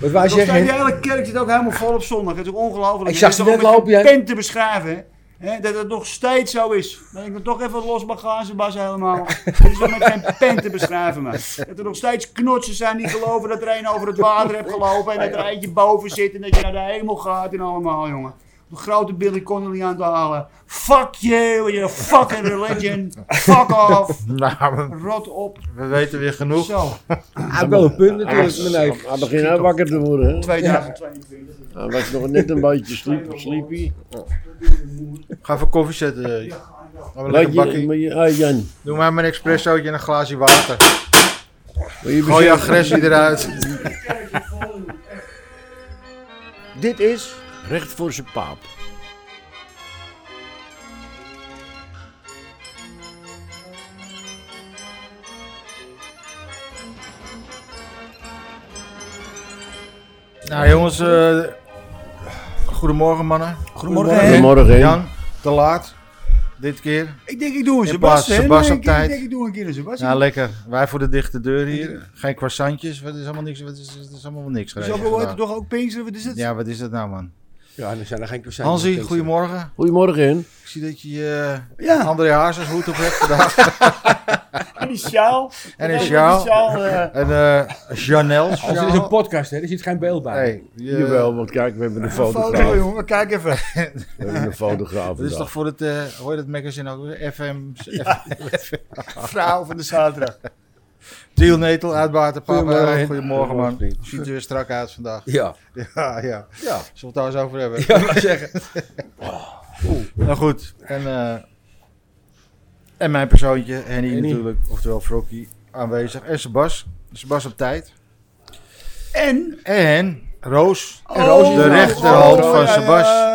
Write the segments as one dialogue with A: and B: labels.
A: Wat wou je
B: Dan staat
A: zeggen?
B: die hele kerk zit ook helemaal vol op zondag. Het is ook ongelooflijk.
A: Ik zag ze
B: Het is
A: net
B: toch om
A: lopen, ja.
B: met pen te beschrijven. Hè, dat het nog steeds zo is. Dat ik dan toch even los mag gaan, ze Bas, helemaal. Het is toch met geen pen te beschrijven, man. Dat er nog steeds knotsen zijn die geloven dat er een over het water hebt gelopen. En dat er eentje boven zit en dat je naar de hemel gaat en allemaal, jongen. Een grote Billy Connolly aan te halen. Fuck you, you're a fucking religion. Fuck off.
C: Nou, we,
B: Rot op.
C: we weten weer genoeg.
B: Zo,
A: Hij heeft wel een punt natuurlijk,
D: Hij
A: meneer.
D: hij begint nou wakker te worden. hè.
B: 2022.
D: Hij was nog net een beetje sleep- sleepy.
C: Ga even koffie zetten. Ja, Gaan we
D: Laat
C: lekker
D: je,
C: bakkie.
D: maar je- ah, Jan,
C: Doe maar mijn espressootje en een glaasje water.
D: wil je
C: Gooi je
D: beginnen?
C: agressie eruit.
D: Dit is Recht voor zijn paap.
C: Nou jongens, eh, goedemorgen mannen.
B: Goedemorgen.
D: Goedemorgen.
C: Jan, te laat. Dit keer.
B: Ik denk ik doe een
C: In plaats
B: Sebastian.
C: Sebas op
B: ik, denk- ik
C: tijd.
B: denk ik doe een keer een Sebastian. Dus
C: Ja, lekker. Wij voor de dichte deur hier. Geen croissantjes. Wat is allemaal niks. Wat is, het is allemaal
B: dus
C: niks. geregeld
B: we worden
C: vandaag.
B: toch ook Pinkster, wat is het?
C: Ja, wat is dat nou man?
A: Ja, er zijn er geen croissants.
C: Hansi,
A: Denk je.
C: goedemorgen.
D: Goedemorgen.
C: Ik zie dat je eh
B: Ja.
C: André Haas als hoed op hebt vandaag.
B: En die sjaal.
C: En een sjaal.
B: eh,
C: En eh Janel.
A: Als dit is een podcast, hè, er zit geen beeld bij.
C: Hey, je-
D: Jawel, want kijk, we hebben een
C: Oh,
B: een
D: fotograaf.
B: jongen, kijk even.
D: We hebben een fotograaf
C: Dat is toch
D: vandaag.
C: voor het, eh, hoor je dat magazine ook? weer? FM,
B: Vrouw van de zaterdag.
C: Deal Netel uit Batenpapa.
A: Goedemorgen.
C: Goedemorgen, Goedemorgen man.
A: Goedemorgen.
C: Ziet er weer strak uit vandaag.
A: Ja,
C: Ja, ja.
A: Ja.
C: Zullen we het daar eens over hebben?
A: ja maar zeggen.
C: Nou goed. En, eh, en mijn persoontje, Henny,
D: Henny.
C: natuurlijk. Oftewel Frokkie aanwezig. En Sebas. Sebas op tijd.
B: En...
C: En Roos.
B: Oh,
C: Roos, de
B: oh,
C: rechterhand
B: oh,
C: van
B: ja,
C: Sebas.
B: ja.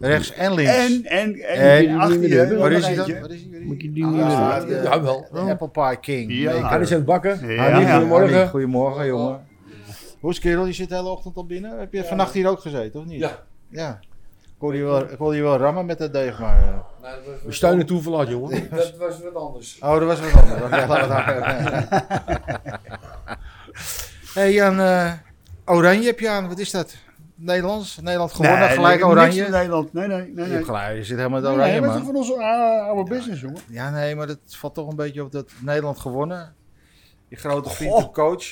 C: Rechts en links.
B: En, en,
C: En-
B: en, en achter je.
D: Waar
C: Waar
B: nog
C: is hij dan?
B: eentje.
C: Waar is hij?
D: Moet je die niet
C: Ah,
D: willen?
C: de-
A: Jawel.
C: de Apple Pie King.
B: Ja.
C: Zeker.
A: Hij is aan het bakken.
B: Ja.
A: Harry, goedemorgen.
C: Harry, goedemorgen, jongen. Hoe is het, kerel? Je zit de hele ochtend al binnen. Heb je vannacht hier ook gezeten, of niet?
E: Ja.
C: Ja. Ik hoorde je wel, ik hoorde je wel rammen met dat deeg, maar... eh.
E: Maar dat
A: We
E: was,
A: steunen het toeverlaat, jongen.
E: dat was wat anders.
C: Oh, dat was wat anders. Oké, laten we het daar- hey Jan, eh, oranje heb je aan. Wat is dat? Niks met Nederland gewonnen,
B: Nee,
C: gelijk
B: niks
C: oranje.
B: met Nederland. Nee, nee, nee.
C: je,
B: nee.
C: hebt gelijk, je zit helemaal met
B: Nee,
C: oranje,
B: nee, maar
C: man.
B: van onze eh, oude business, jongen.
C: Ja, nee, maar dat valt toch een beetje op dat Nederland gewonnen. Je grote vriend,
B: Goh.
C: de coach.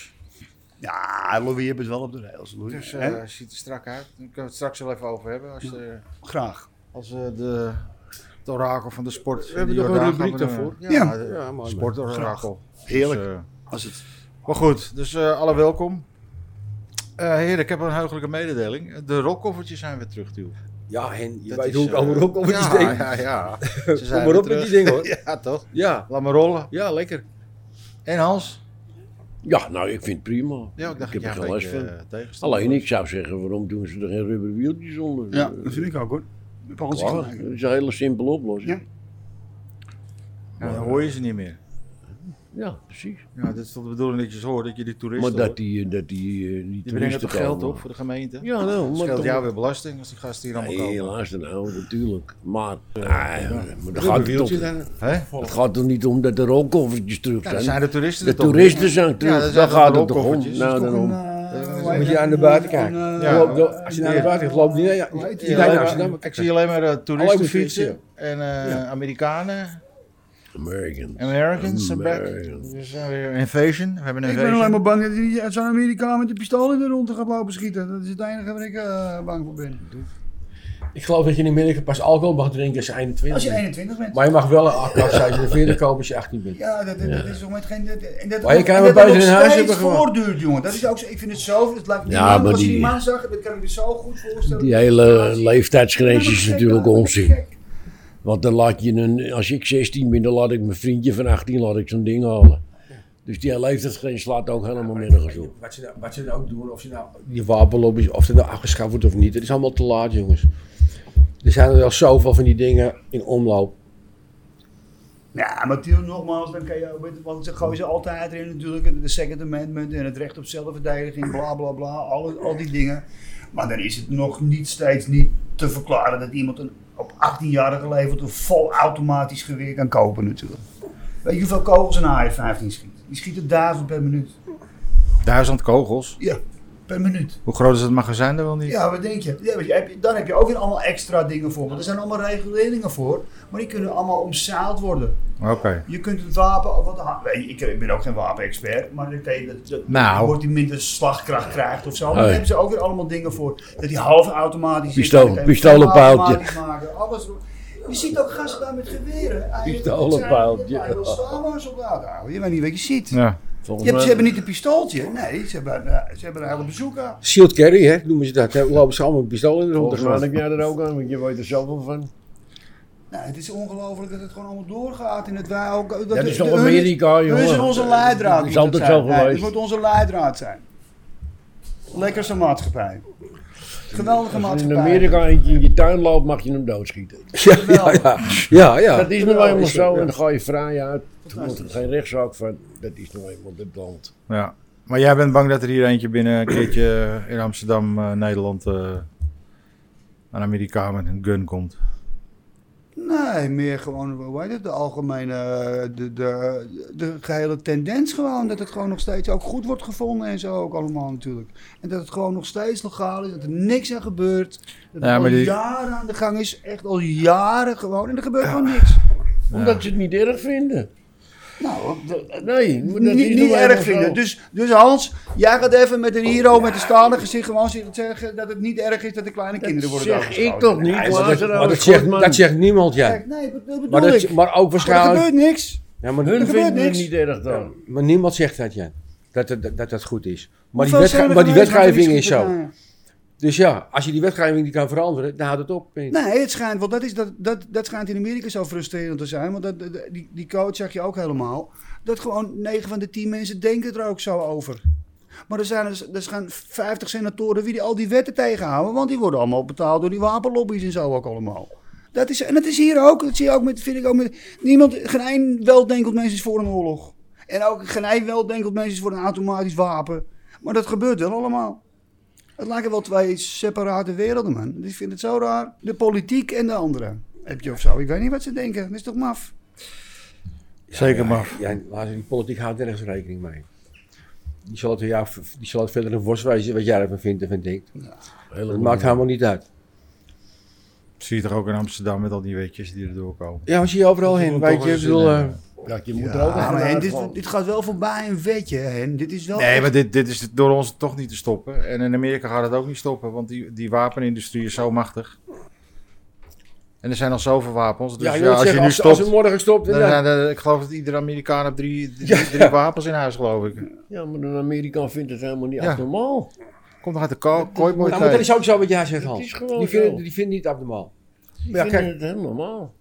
B: Ja, Louis heeft het wel op de rails. Louis.
C: Dus eh,
B: Hè?
C: ziet er strak uit. Daar kunnen we het straks wel even over hebben. Als, de,
B: Graag.
C: als eh, de, het orakel van de sport.
A: We hebben
C: de
A: nog een
C: Jordaan
A: rubriek
C: gaan we
A: daarvoor.
C: doen.
B: Ja.
C: Ja, de-
A: Ja, mooi.
C: sportorakel.
B: Heerlijk.
C: Dus, eh,
B: Als het...
C: maar goed, dus eh, alle welkom. Eh heren, ik heb een heugelijke mededeling. De rokkoffertjes zijn weer terug, Tiel.
A: Ja, en je
C: Dat
A: weet
C: is,
A: hoe ik
C: eh,
A: over op over
C: ja,
A: die ding.
C: Ja, ja. Ze
A: Kom
C: zijn
A: maar
C: weer
A: op met
C: terug.
A: die ding, hoor.
C: Ja, toch?
A: Ja,
C: Laat maar rollen.
A: ja, lekker.
C: En Hans?
D: Ja, nou, ik vind het prima.
C: Ja, ik dacht,
D: heb
C: jij
D: er geen
C: een
D: last
C: beetje,
D: van.
C: eh, tegenstander
D: Alleen, ik zou zeggen, waarom doen ze er geen rubberwieltjes onder?
B: Ja,
D: Eh,
B: dat vind ik ook, hoor. Ik heb al eens
D: klaar.
B: gelijk.
D: Dat is een hele simpele oplossing.
C: was. Ja, dan hoor je ze niet meer.
D: Ja, precies.
C: Ja, dat is toch de bedoeling dat je ze hoort, dat je die toeristen
D: Maar dat
C: hoort.
D: die, eh, dat die, eh, die
C: Die brengen
D: toeristen
C: toch geld
D: komen.
C: op voor de gemeente?
D: Ja, nou, maar
C: Scheelt
D: toch-
C: jou weer belasting als die gasten hier allemaal komen.
D: Helaas, nou, natuurlijk. Maar, nee, maar dat gaat het
A: Wieltje
D: toch,
A: dan.
C: Hè?
D: het gaat toch niet om dat er rookoffertjes terug
C: Ja,
D: zijn?
C: dan zijn de toeristen
D: de
C: er toch
D: toeristen zijn terug,
C: Ja,
D: daar
C: dat zijn
D: gaat
C: toch
D: het toch om.
C: rookoffertjes? Dat
D: Nou,
B: Toch een,
D: daarom.
B: eh,
A: Moet je aan de buiten kijken.
B: een, eh,
C: Ja.
A: Loop door- Als je naar de buiten gaat, loopt die naar
B: Hoe heet die?
C: Ja,
A: die naar
C: alleen
A: Amsterdam.
C: maar- ik zie alleen maar eh, toeristen
A: Alleen maar
C: fietsen
A: toeristen,
C: en eh, Amerikanen,
D: eh, Americans.
C: Americans zijn back.
D: Americans.
C: We zijn weer invasion. We hebben een
B: Ik ben alleen
C: invasion.
B: maar bang dat hij uit zo'n Amerikaan met een pistool in de ronde gaat lopen schieten. Dat is het enige waar ik eh, bang voor ben.
A: Ik geloof dat je in Amerika pas alcohol mag drinken als je
B: Als
A: 21
B: je
A: bent.
B: 21 bent.
A: Maar je mag wel een afkast zijn als je een 40 kopen als je 18 bent.
B: Ja, dat, dat, dat is nog met geen... Dat, en dat,
A: Maar je kan
B: en
A: hem
B: dat
A: buiten
B: het
A: in
B: nog
A: huis
B: steeds
A: hebben gewoon.
B: voortduurt, jongen. Dat is ook zo. Ik vind het zo... Het lijkt, die
D: Ja,
B: man,
D: maar
B: als je die
D: die-
B: man zag, dat kan ik me zo goed voorstellen.
D: Die hele
B: Dat
D: leeftijdsgrens
B: is
D: is
B: gek,
D: natuurlijk
B: dat is
D: onzin.
B: gek.
D: Want dan laat je een, als ik 16 ben, dan laat ik mijn vriendje van 18 laat ik zo'n ding halen. Dus die leeftijdsgrens slaat ook helemaal nergens op.
A: Wat ze, nou- wat ze nou ook doen, of ze nou die wapenlobby, of er nou afgeschaft wordt of niet, het is allemaal te laat, jongens. Er zijn er al zoveel van die dingen in omloop.
B: Ja, maar Tiel, nogmaals, dan kan je ook... met- Want ze gooien ze altijd erin natuurlijk. De Second Amendment en het recht op zelfverdediging, bla bla bla. Al, al die dingen. Maar dan is het nog niet steeds niet te verklaren dat iemand een, op 18-jarige leeftijd een volautomatisch geweer kan kopen natuurlijk. Weet je hoeveel kogels een AR-15 schiet? Die schieten duizend per minuut.
C: Duizend kogels.
B: Ja. per minuut.
C: Hoe groot is het magazijn dan wel niet?
B: Ja, wat denk je? Ja, weet je, heb je- Dan heb je ook weer allemaal extra dingen voor. Want er zijn allemaal reguleringen voor. Maar die kunnen allemaal omzeild worden.
C: Oké.
B: Je kunt het wapen... Wat, ha- nee, ik ik ben ook geen wapenexpert. Maar dan kan je dat, dat,
C: Nou.
B: wordt die minder slagkracht krijgt of zo. Maar
D: Hey.
B: daar hebben ze ook weer allemaal dingen voor. Dat die half automatisch is.
D: Pistool-
B: dan kan je
D: pistolenpijltje.
B: half automatisch maken, Alles. Je ziet ook gasten daar met geweren. Eigenlijk,
D: Pistolenpijltje.
B: dat zijn- dat lijken wel Salomonsoldaten, ouwe. Je weet niet wat je ziet.
C: Ja.
B: Je
D: Volgens
B: hebt, ze
D: mij-
B: hebben niet een pistooltje. Nee, ze hebben, eh, ze hebben een hele bezoeker.
A: Shield carry, hè, noemen ze dat. Hè? Lopen ze allemaal met pistool in de rond. te
D: Volgens mij
A: gaan.
D: heb jij er ook aan, want je weet er zoveel van.
B: Nou, het is ongelooflijk dat het gewoon allemaal doorgaat in het wij ook. Dat,
D: Dat is
B: de-
D: toch
B: hun
D: Amerika,
B: hun
D: jongen.
B: is onze leidraad.
D: Dat is
B: moet
D: altijd
B: zijn.
D: zo
B: Nee,
D: geweest.
B: Dat moet onze leidraad zijn. Lekker zo'n maatschappij. Geweldige
D: Als in
B: maatschappij.
D: Amerika eentje in je tuin loopt, mag je hem doodschieten.
A: Ja, ja, ja. ja, ja.
D: Dat is nou
A: Ja,
D: eenmaal
A: is
D: zo
A: het,
D: en
A: ja.
D: dan ga je vrij uit. Toen wordt er geen rechtszaak van. Dat is nou eenmaal dit land.
C: ja. Maar jij bent bang dat er hier eentje binnen een keertje in Amsterdam, eh, Nederland, eh, een Amerikaan met een gun komt.
B: Nee, meer gewoon, hoe heet het, de algemene, eh, de, de, de gehele tendens gewoon. Dat het gewoon nog steeds ook goed wordt gevonden en zo ook allemaal natuurlijk. En dat het gewoon nog steeds legaal is, dat er niks aan gebeurt. Dat het
C: Ja,
B: al
C: maar die-
B: jaren aan de gang is, echt al jaren gewoon. En er gebeurt gewoon niks.
D: Omdat ze het niet erg vinden.
B: Nou, dat-
D: Nee, maar dat
B: niet,
D: is
B: niet
D: nou
B: erg
D: eenmaal zo.
B: vinden. Dus, dus Hans, jij gaat even met een hero met een stalen gezicht gewoon zitten zeggen dat het niet erg is dat de kleine kinderen worden
D: zeg
B: doodgeschoten.
D: ik toch niet, nou
B: Nee,
D: maar-
B: dat-
A: Maar dat,
D: Lazaro is goed,
A: zegt,
D: man.
A: dat zegt niemand, ja.
B: Kijk, nee, dat bedoel
A: Maar, dat,
B: ik.
A: maar ook
B: Maar er
A: waarschijnlijk...
B: gebeurt niks.
A: Ja, maar,
D: Hun
B: Er gebeurt
D: vinden het
B: niks.
D: niet erg dan.
A: maar niemand zegt dat, ja. Dat dat, dat, dat goed is. Maar die,
B: Hoeveel zijn
A: wetge-
B: er
A: maar die
B: geweest?
A: wetgeving
B: Laten we
A: is
B: die schieten
A: zo.
B: daar.
A: Dus ja, als je die wetgeving niet kan veranderen, dan houdt het op.
B: Nee, het schijnt, want dat, is, dat, dat, dat schijnt in Amerika zo frustrerend te zijn. Want dat, dat- die, die coach zag je ook helemaal. Dat gewoon 9 van de 10 mensen denken er ook zo over. Maar er, zijn, dus, er- er gaan 50 senatoren wie die, al die wetten tegenhouden. Want die worden allemaal betaald door die wapenlobby's en zo ook allemaal. Dat is, en dat is hier ook. Dat zie je ook met, vind ik ook met. Niemand, geen één weldenkend mens is voor een oorlog. En ook geen één weldenkend mens is voor een automatisch wapen. Maar dat gebeurt wel allemaal. Het lijken wel twee separate werelden, man. Dus ik vind het zo raar. De politiek en de andere. Heb je of zo? Ik weet niet wat ze denken. Dat is toch maf?
C: Zeker maar.
A: Ja, maar die politiek houdt nergens rekening mee. Die zal het, ja, die zal het verder een worst wijzen wat jij ervan vindt en van denkt.
D: Helemaal
A: Dat maakt helemaal niet uit.
C: Zie je toch ook in Amsterdam met al die weetjes die erdoor komen.
A: Ja, maar zie je overal heen.
C: moet
A: Weet
C: toch
A: je, ik
C: eens
A: bedoel...
C: in,
A: eh,
D: niet. Ja, je moet er ook
B: Ah, maar Hen,
D: aan
B: dit,
D: gaan.
B: dit gaat wel voorbij een wetje, Hen. Dit is wel...
A: Oh.
C: Nee, maar dit, dit is door ons toch niet te stoppen. En in Amerika gaat het ook niet stoppen, want die, die wapenindustrie is zo machtig. En er zijn al zoveel wapens. Dus
A: ja,
C: ja,
A: ik wil
C: als je
A: zeggen,
C: nu
A: als, als het
C: stopt,
A: morgen stopt,
C: dan
A: dan-
C: zijn er- ik geloof dat iedere Amerikaan heeft drie, drie, drie wapens in huis, geloof ik.
D: Ja, maar een Amerikaan vindt het helemaal niet
C: Ja.
D: abnormaal.
C: Komt nog uit de ko- kooiboy
A: Ja, Nou, maar dat
C: tijd.
A: is ook zo wat jij zegt,
D: Het
A: Hans.
D: is gewoon
A: Die vinden,
D: zo.
A: die vinden niet abnormaal.
D: Die
A: Ja,
D: vinden
A: kijk.
D: het helemaal normaal.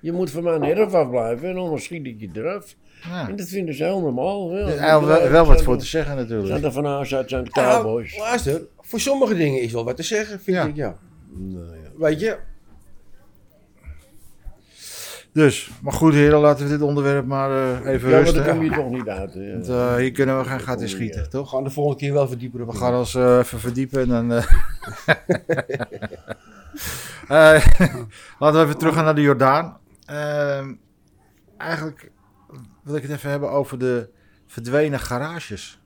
D: Je moet van mijn erf afblijven en anders schiet ik je eraf.
C: Ja.
D: En dat vinden ze heel normaal. Ja,
C: Er is eigenlijk wel, wel wat voor te zeggen
D: Zijn
C: natuurlijk.
D: er van huis uit, zijn de
A: Nou,
D: cowboys.
A: luister, voor sommige dingen is wel wat te zeggen, vind
C: Ja.
A: ik, ja.
D: Nou ja.
A: Weet je,
C: Dus, maar goed heren, laten we dit onderwerp maar eh, even
D: Ja, maar
C: rusten.
D: daar kom je toch niet uit. hè.
C: Want, eh, hier kunnen we gaan gat in schieten,
A: we
C: toch?
A: gaan de volgende keer wel verdiepen op.
C: We gaan ons eh, even verdiepen en dan... eh, eh, laten we even teruggaan naar de Jordaan. Ehm, eigenlijk wil ik het even hebben over de verdwenen garages.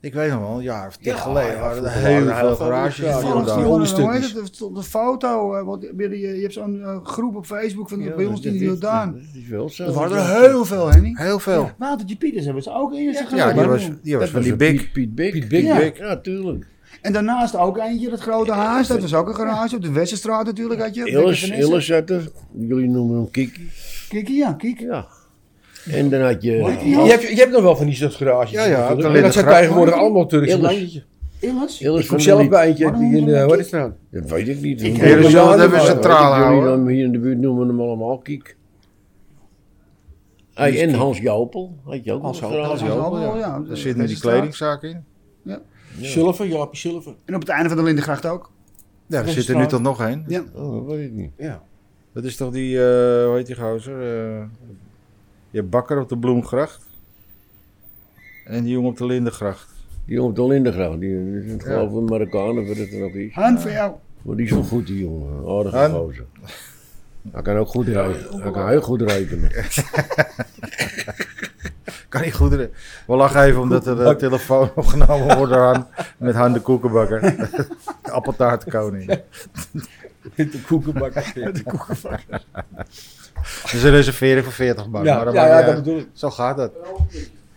C: Ik weet nog wel, een jaar of tien
A: Ja,
C: geleden
A: ja,
C: waren er
A: vroeger
C: heel
A: waren er
C: veel
A: heel veel
C: garages in de
A: garages.
B: Volgens
A: die
C: Jordaan.
B: die
A: onderstukjes.
B: hoe heet het? Er stond een foto. eh, Want je, je hebt zo'n eh, groep op Facebook van
D: Ja,
B: bij
D: dat-
B: ons in
D: dat
B: de
D: is-
B: Jordaan.
D: Dat is wel zo.
B: Er waren er heel veel, Henny.
C: Heel veel.
B: Watertje Pieters hebben ze ook eerst gedaan.
C: Ja, die
D: maar-
C: was, die was
D: Dat
C: van
D: was
C: die
D: die
C: big.
D: Piet, Piet Bik. Piet
C: Bik.
D: Ja,
C: Bik.
D: ja, tuurlijk.
B: En daarnaast ook eentje, dat grote haas. Dat was ook een garage. Op de Westerstraat natuurlijk had je.
D: Illes,
B: Dikke Vanessa.
D: Illes had er. Jullie noemen hem Kiki.
B: Kiki, ja, Kiki.
D: Ja. En dan had je...
A: Je hebt, je hebt nog wel van die soort garages.
C: Ja, ja,
A: natuurlijk. Maar
C: dan
A: dat
C: ligt
A: zijn
C: het gra-
A: tegenwoordig allemaal Turkse
D: Illes.
A: landjes.
B: Illes?
D: Illes
A: Ik kom
D: van
A: zelf
D: zelf
A: bij eentje
B: Waarom
A: die in eh, de
B: noemen we
A: wat
B: dat
A: is er aan?
D: Dat weet ik niet.
B: Ik-
D: Weet ik
C: Jeruzalem
D: niet.
C: hebben ze
D: Weet ik
C: centraal
D: niet.
C: houden.
D: Jullie dan hier in de buurt noemen hem allemaal Kiek. Hey, en Hans Jopel. Had je ook
A: Hans
D: nog
A: Jopel,
D: een
B: Hans
D: verhaal?
B: Jopel, ja.
C: Er zit nu
B: Deze
C: die
B: straat.
C: kledingzaak in.
A: Zilver, Jaapie Zilver.
B: En op het einde van de Lindengracht ook.
C: Ja, er
A: Deze
C: zit er nu
A: straat.
C: toch nog één.
B: Ja.
D: Oh, dat weet ik niet.
A: Ja.
C: Dat is toch die, eh, hoe heet die gozer? Eh, je hebt bakker op de Bloemgracht. En die jongen op de Lindengracht.
D: Die jongen op de Lindegraaf, die die is het geloof ik een Marokkaan of wat het dan ook is.
B: Hand voor jou.
D: Maar die is wel goed, die jongen. Aardige
C: Han?
D: gozer. Hij kan ook goed rekenen. Hij kan heel goed rekenen.
C: kan niet goederen. We lachen even omdat er de telefoon opgenomen wordt door Han, met Han de koekenbakker. de appeltaartkoning.
A: Met de koekenbakker.
C: Dus een reservering voor 40 man.
A: Ja,
C: maar dat
A: ja,
C: maakt
A: ja,
C: niet
A: dat
C: uit.
A: bedoel ik.
C: Zo gaat dat.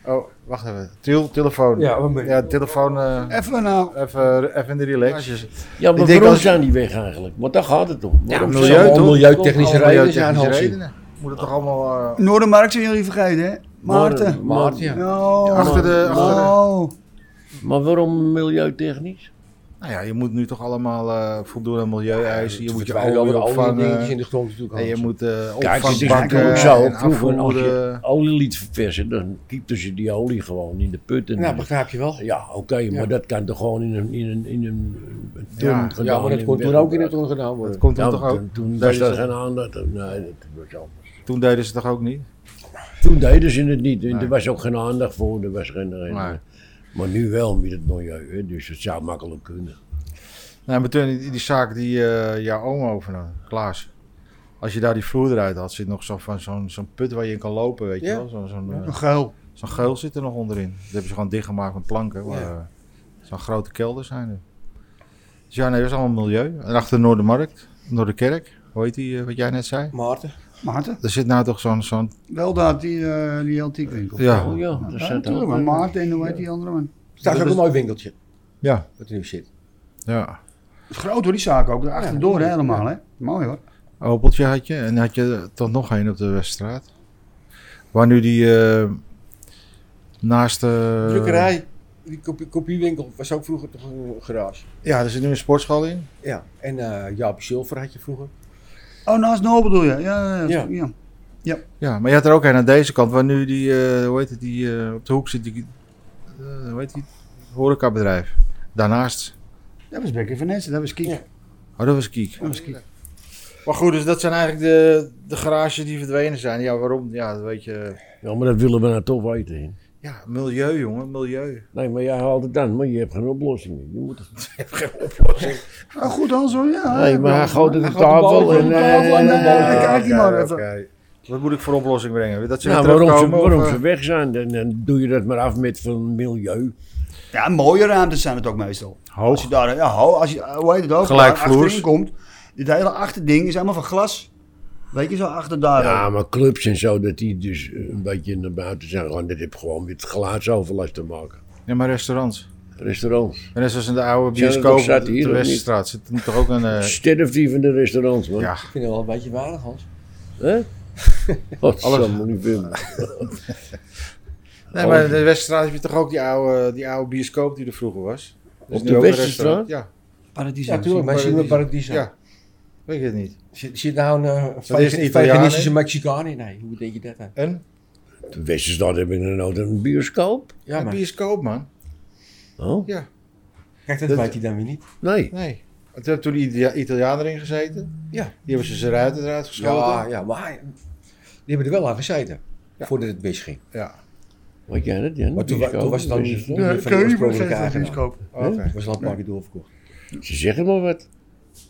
C: Oh, wacht even. Tiel, telefoon.
A: Ja, wat ben je?
C: ja telefoon. eh,
B: Even nou.
C: even, even in de relax.
D: Ja, maar
C: Ik denk
D: waarom
C: als-
D: zijn die weg eigenlijk? Want daar gaat het om. Waarom
C: milieu
D: zijn we
C: toch?
D: allemaal-
A: Milieutechnische redenen zijn
C: Milieutechnische
A: Hansie.
C: redenen. Moet het toch allemaal... eh,
B: Noordermark zijn jullie vergeten, hè? Maarten.
A: Maarten, ja.
B: Oh.
C: achter de... Achter de
B: Oh.
D: Maar waarom milieutechnisch?
C: nou ja, je moet nu toch allemaal eh, voldoen aan milieueisen. Je moet je
A: Terwijl
C: olie
A: er andere dingetjes in
C: opvangen.
A: de grond natuurlijk
C: En je
A: Hansie.
C: moet eh
D: Kijk, het is
C: opvangbakken
D: natuurlijk zo.
C: en
D: Vroeger, als je
C: afvoeren.
D: olie liet verversen, dan kiepte ze die olie gewoon in de putten.
A: Nou, begrijp je wel.
D: ja, oké, maar dat kan toch gewoon in een, in een, in een ton
C: Ja,
D: gedaan
A: Ja, maar dat
D: en
A: kon toen
D: werd-
A: ook in het on gedaan worden.
C: Komt
D: Ja,
C: er toch ook?
D: Nou, toen, toen was
C: deden
D: dat
C: ze-
D: geen aan dat... Nee, dat was anders.
C: toen deden ze toch ook niet?
D: Toen deden ze het niet. en
C: Nee.
D: Er was ook geen aandacht voor. Er was geen, geen-
C: Nee.
D: Maar nu wel met het milieu. Hè, dus het zou makkelijk kunnen.
C: Nou, maar toen die, die zaak die eh, jouw oom overnam, Klaas. Als je daar die vloer eruit had, zit nog zo van zo'n zo'n put waar je in kan lopen, weet je
A: Ja.
C: wel. Zo'n zo'n eh,
B: Een geul.
C: zo'n geul zit er nog onderin. Dat hebben ze gewoon dichtgemaakt met planken. Waar,
A: Ja.
C: eh, zo'n grote kelder zijn er. Dus ja, nee, dat is allemaal milieu. En achter de Noordermarkt, Noorderkerk, hoe heet die, eh, wat jij net zei?
A: Maarten.
B: Maarten.
C: Er zit nou toch zo'n... zo'n
B: Wel dat, die, eh, die antiekwinkel.
C: ja,
D: Oh ja, dat
B: Ja,
D: zijn
B: natuurlijk, maar Maarten en hoe heet die andere man?
A: Staat ook een mooi winkeltje.
C: ja,
A: Wat er nu zit.
C: ja.
B: Groot hoor, die zaak ook. Achterdoor hè, helemaal, hè? Mooi hoor.
C: Opeltje had je. En had je toch nog één op de Weststraat. Waar nu die... eh, naast eh, de...
A: Drukkerij. Die kopie- kopiewinkel was ook vroeger toch een garage.
C: Ja, er zit nu een sportschool in.
A: Ja. En eh Jaap Silver had je vroeger.
B: Oh, naast Noor bedoel je? Ja, ja, ja.
A: Ja.
B: ja.
C: Ja, maar je had er ook een aan deze kant, waar nu die, eh, hoe heet het, die eh, op de hoek zit, die, eh, hoe heet die, horecabedrijf. Daarnaast.
B: Dat was Bekker van Nessen, dat was Kiek.
A: Ja.
C: Oh, dat was Kiek.
B: Dat was Kiek.
C: Maar goed, dus dat zijn eigenlijk de, de garages die verdwenen zijn. Ja, waarom? Ja, dat weet je.
D: Ja, maar dat willen we nou toch weten. hè.
C: Ja, milieu, jongen, milieu.
D: Nee, maar jij haalt het aan, maar je hebt geen oplossingen. Je moet het...
B: Ah, goed Hans hoor, ja.
D: Nee, maar hij gooit het
A: Hij
D: op
A: gooit de
D: tafel
A: bal
D: en...
A: op de
D: eh,
A: tafel en dan-
D: eh,
B: Ja, kijk hier
C: Oké,
B: maar even.
C: oké. Wat moet ik voor oplossing brengen? Dat ze
D: Nou,
C: weer
D: waarom, ze,
C: terugkomen,
D: waarom
C: of, eh,
D: ze weg zijn, dan, dan doe je dat maar af met van milieu.
B: Ja, mooie ruimtes zijn het ook meestal.
C: Hoog.
B: Als je daar, ja, ho- als je, eh, hoe heet het ook,
C: Gelijk
B: daar achterin
C: vloers.
B: komt. Dit hele achterding is helemaal van glas. Weet je, zo achter daar.
D: Ja, maar clubs en zo, dat die dus een beetje naar buiten zijn gegaan. Dat heeft gewoon met geluidsoverlast te maken.
C: Ja, maar restaurants.
D: Restaurants.
C: En net zoals in de oude
D: Zijn er
C: bioscoop
D: nog
C: op
D: zaten
C: de
D: hier,
C: de
D: of niet?
C: Weststraat zit nu toch ook een... eh,
D: Sterfdief in de restaurants, man.
C: ja,
A: Ik vind het wel een beetje weinig, Hans.
D: Hè? Wat zal niet vinden.
C: Nee, maar in de Weststraat heb je toch ook die oude, die oude bioscoop die er vroeger was? Dus
D: Op
C: nu
D: de
C: ook een
D: Westerstraat?
C: restaurant. Ja,
A: Ja, natuurlijk. Wij zien we Paradiso.
C: ja. Weet je het niet.
A: Zit, zit nou een uh,
C: een Italiaan
A: veganistische
C: in?
A: Mexicaan in? Nee, hoe denk je dat aan?
C: En?
D: De Westenstad heb ik nog nooit een bioscoop.
A: Ja,
C: een
A: maar
C: bioscoop, man.
D: Oh?
A: kijk, dat
C: Dat-
A: weet hij dan weer niet.
D: Nee.
C: Nee. Want Toen hebben toen die Ita- Italianen erin gezeten.
A: Ja.
C: Die hebben ze zijn ruiten eruit geschoten.
A: Ja,
C: Ja.
A: ja, maar hij- die hebben er wel aan gezeten.
C: Ja.
A: Voordat het mis ging.
D: Wat jij dat, Jan?
A: Maar toen, wa-
D: Bioscoop,
A: toen was het dan niet
D: Westerstad.
A: niet meer van de oorspronkelijke eigenaar.
C: Oké.
A: Het was al een paar keer doorverkocht.
D: Ze zeggen maar wat.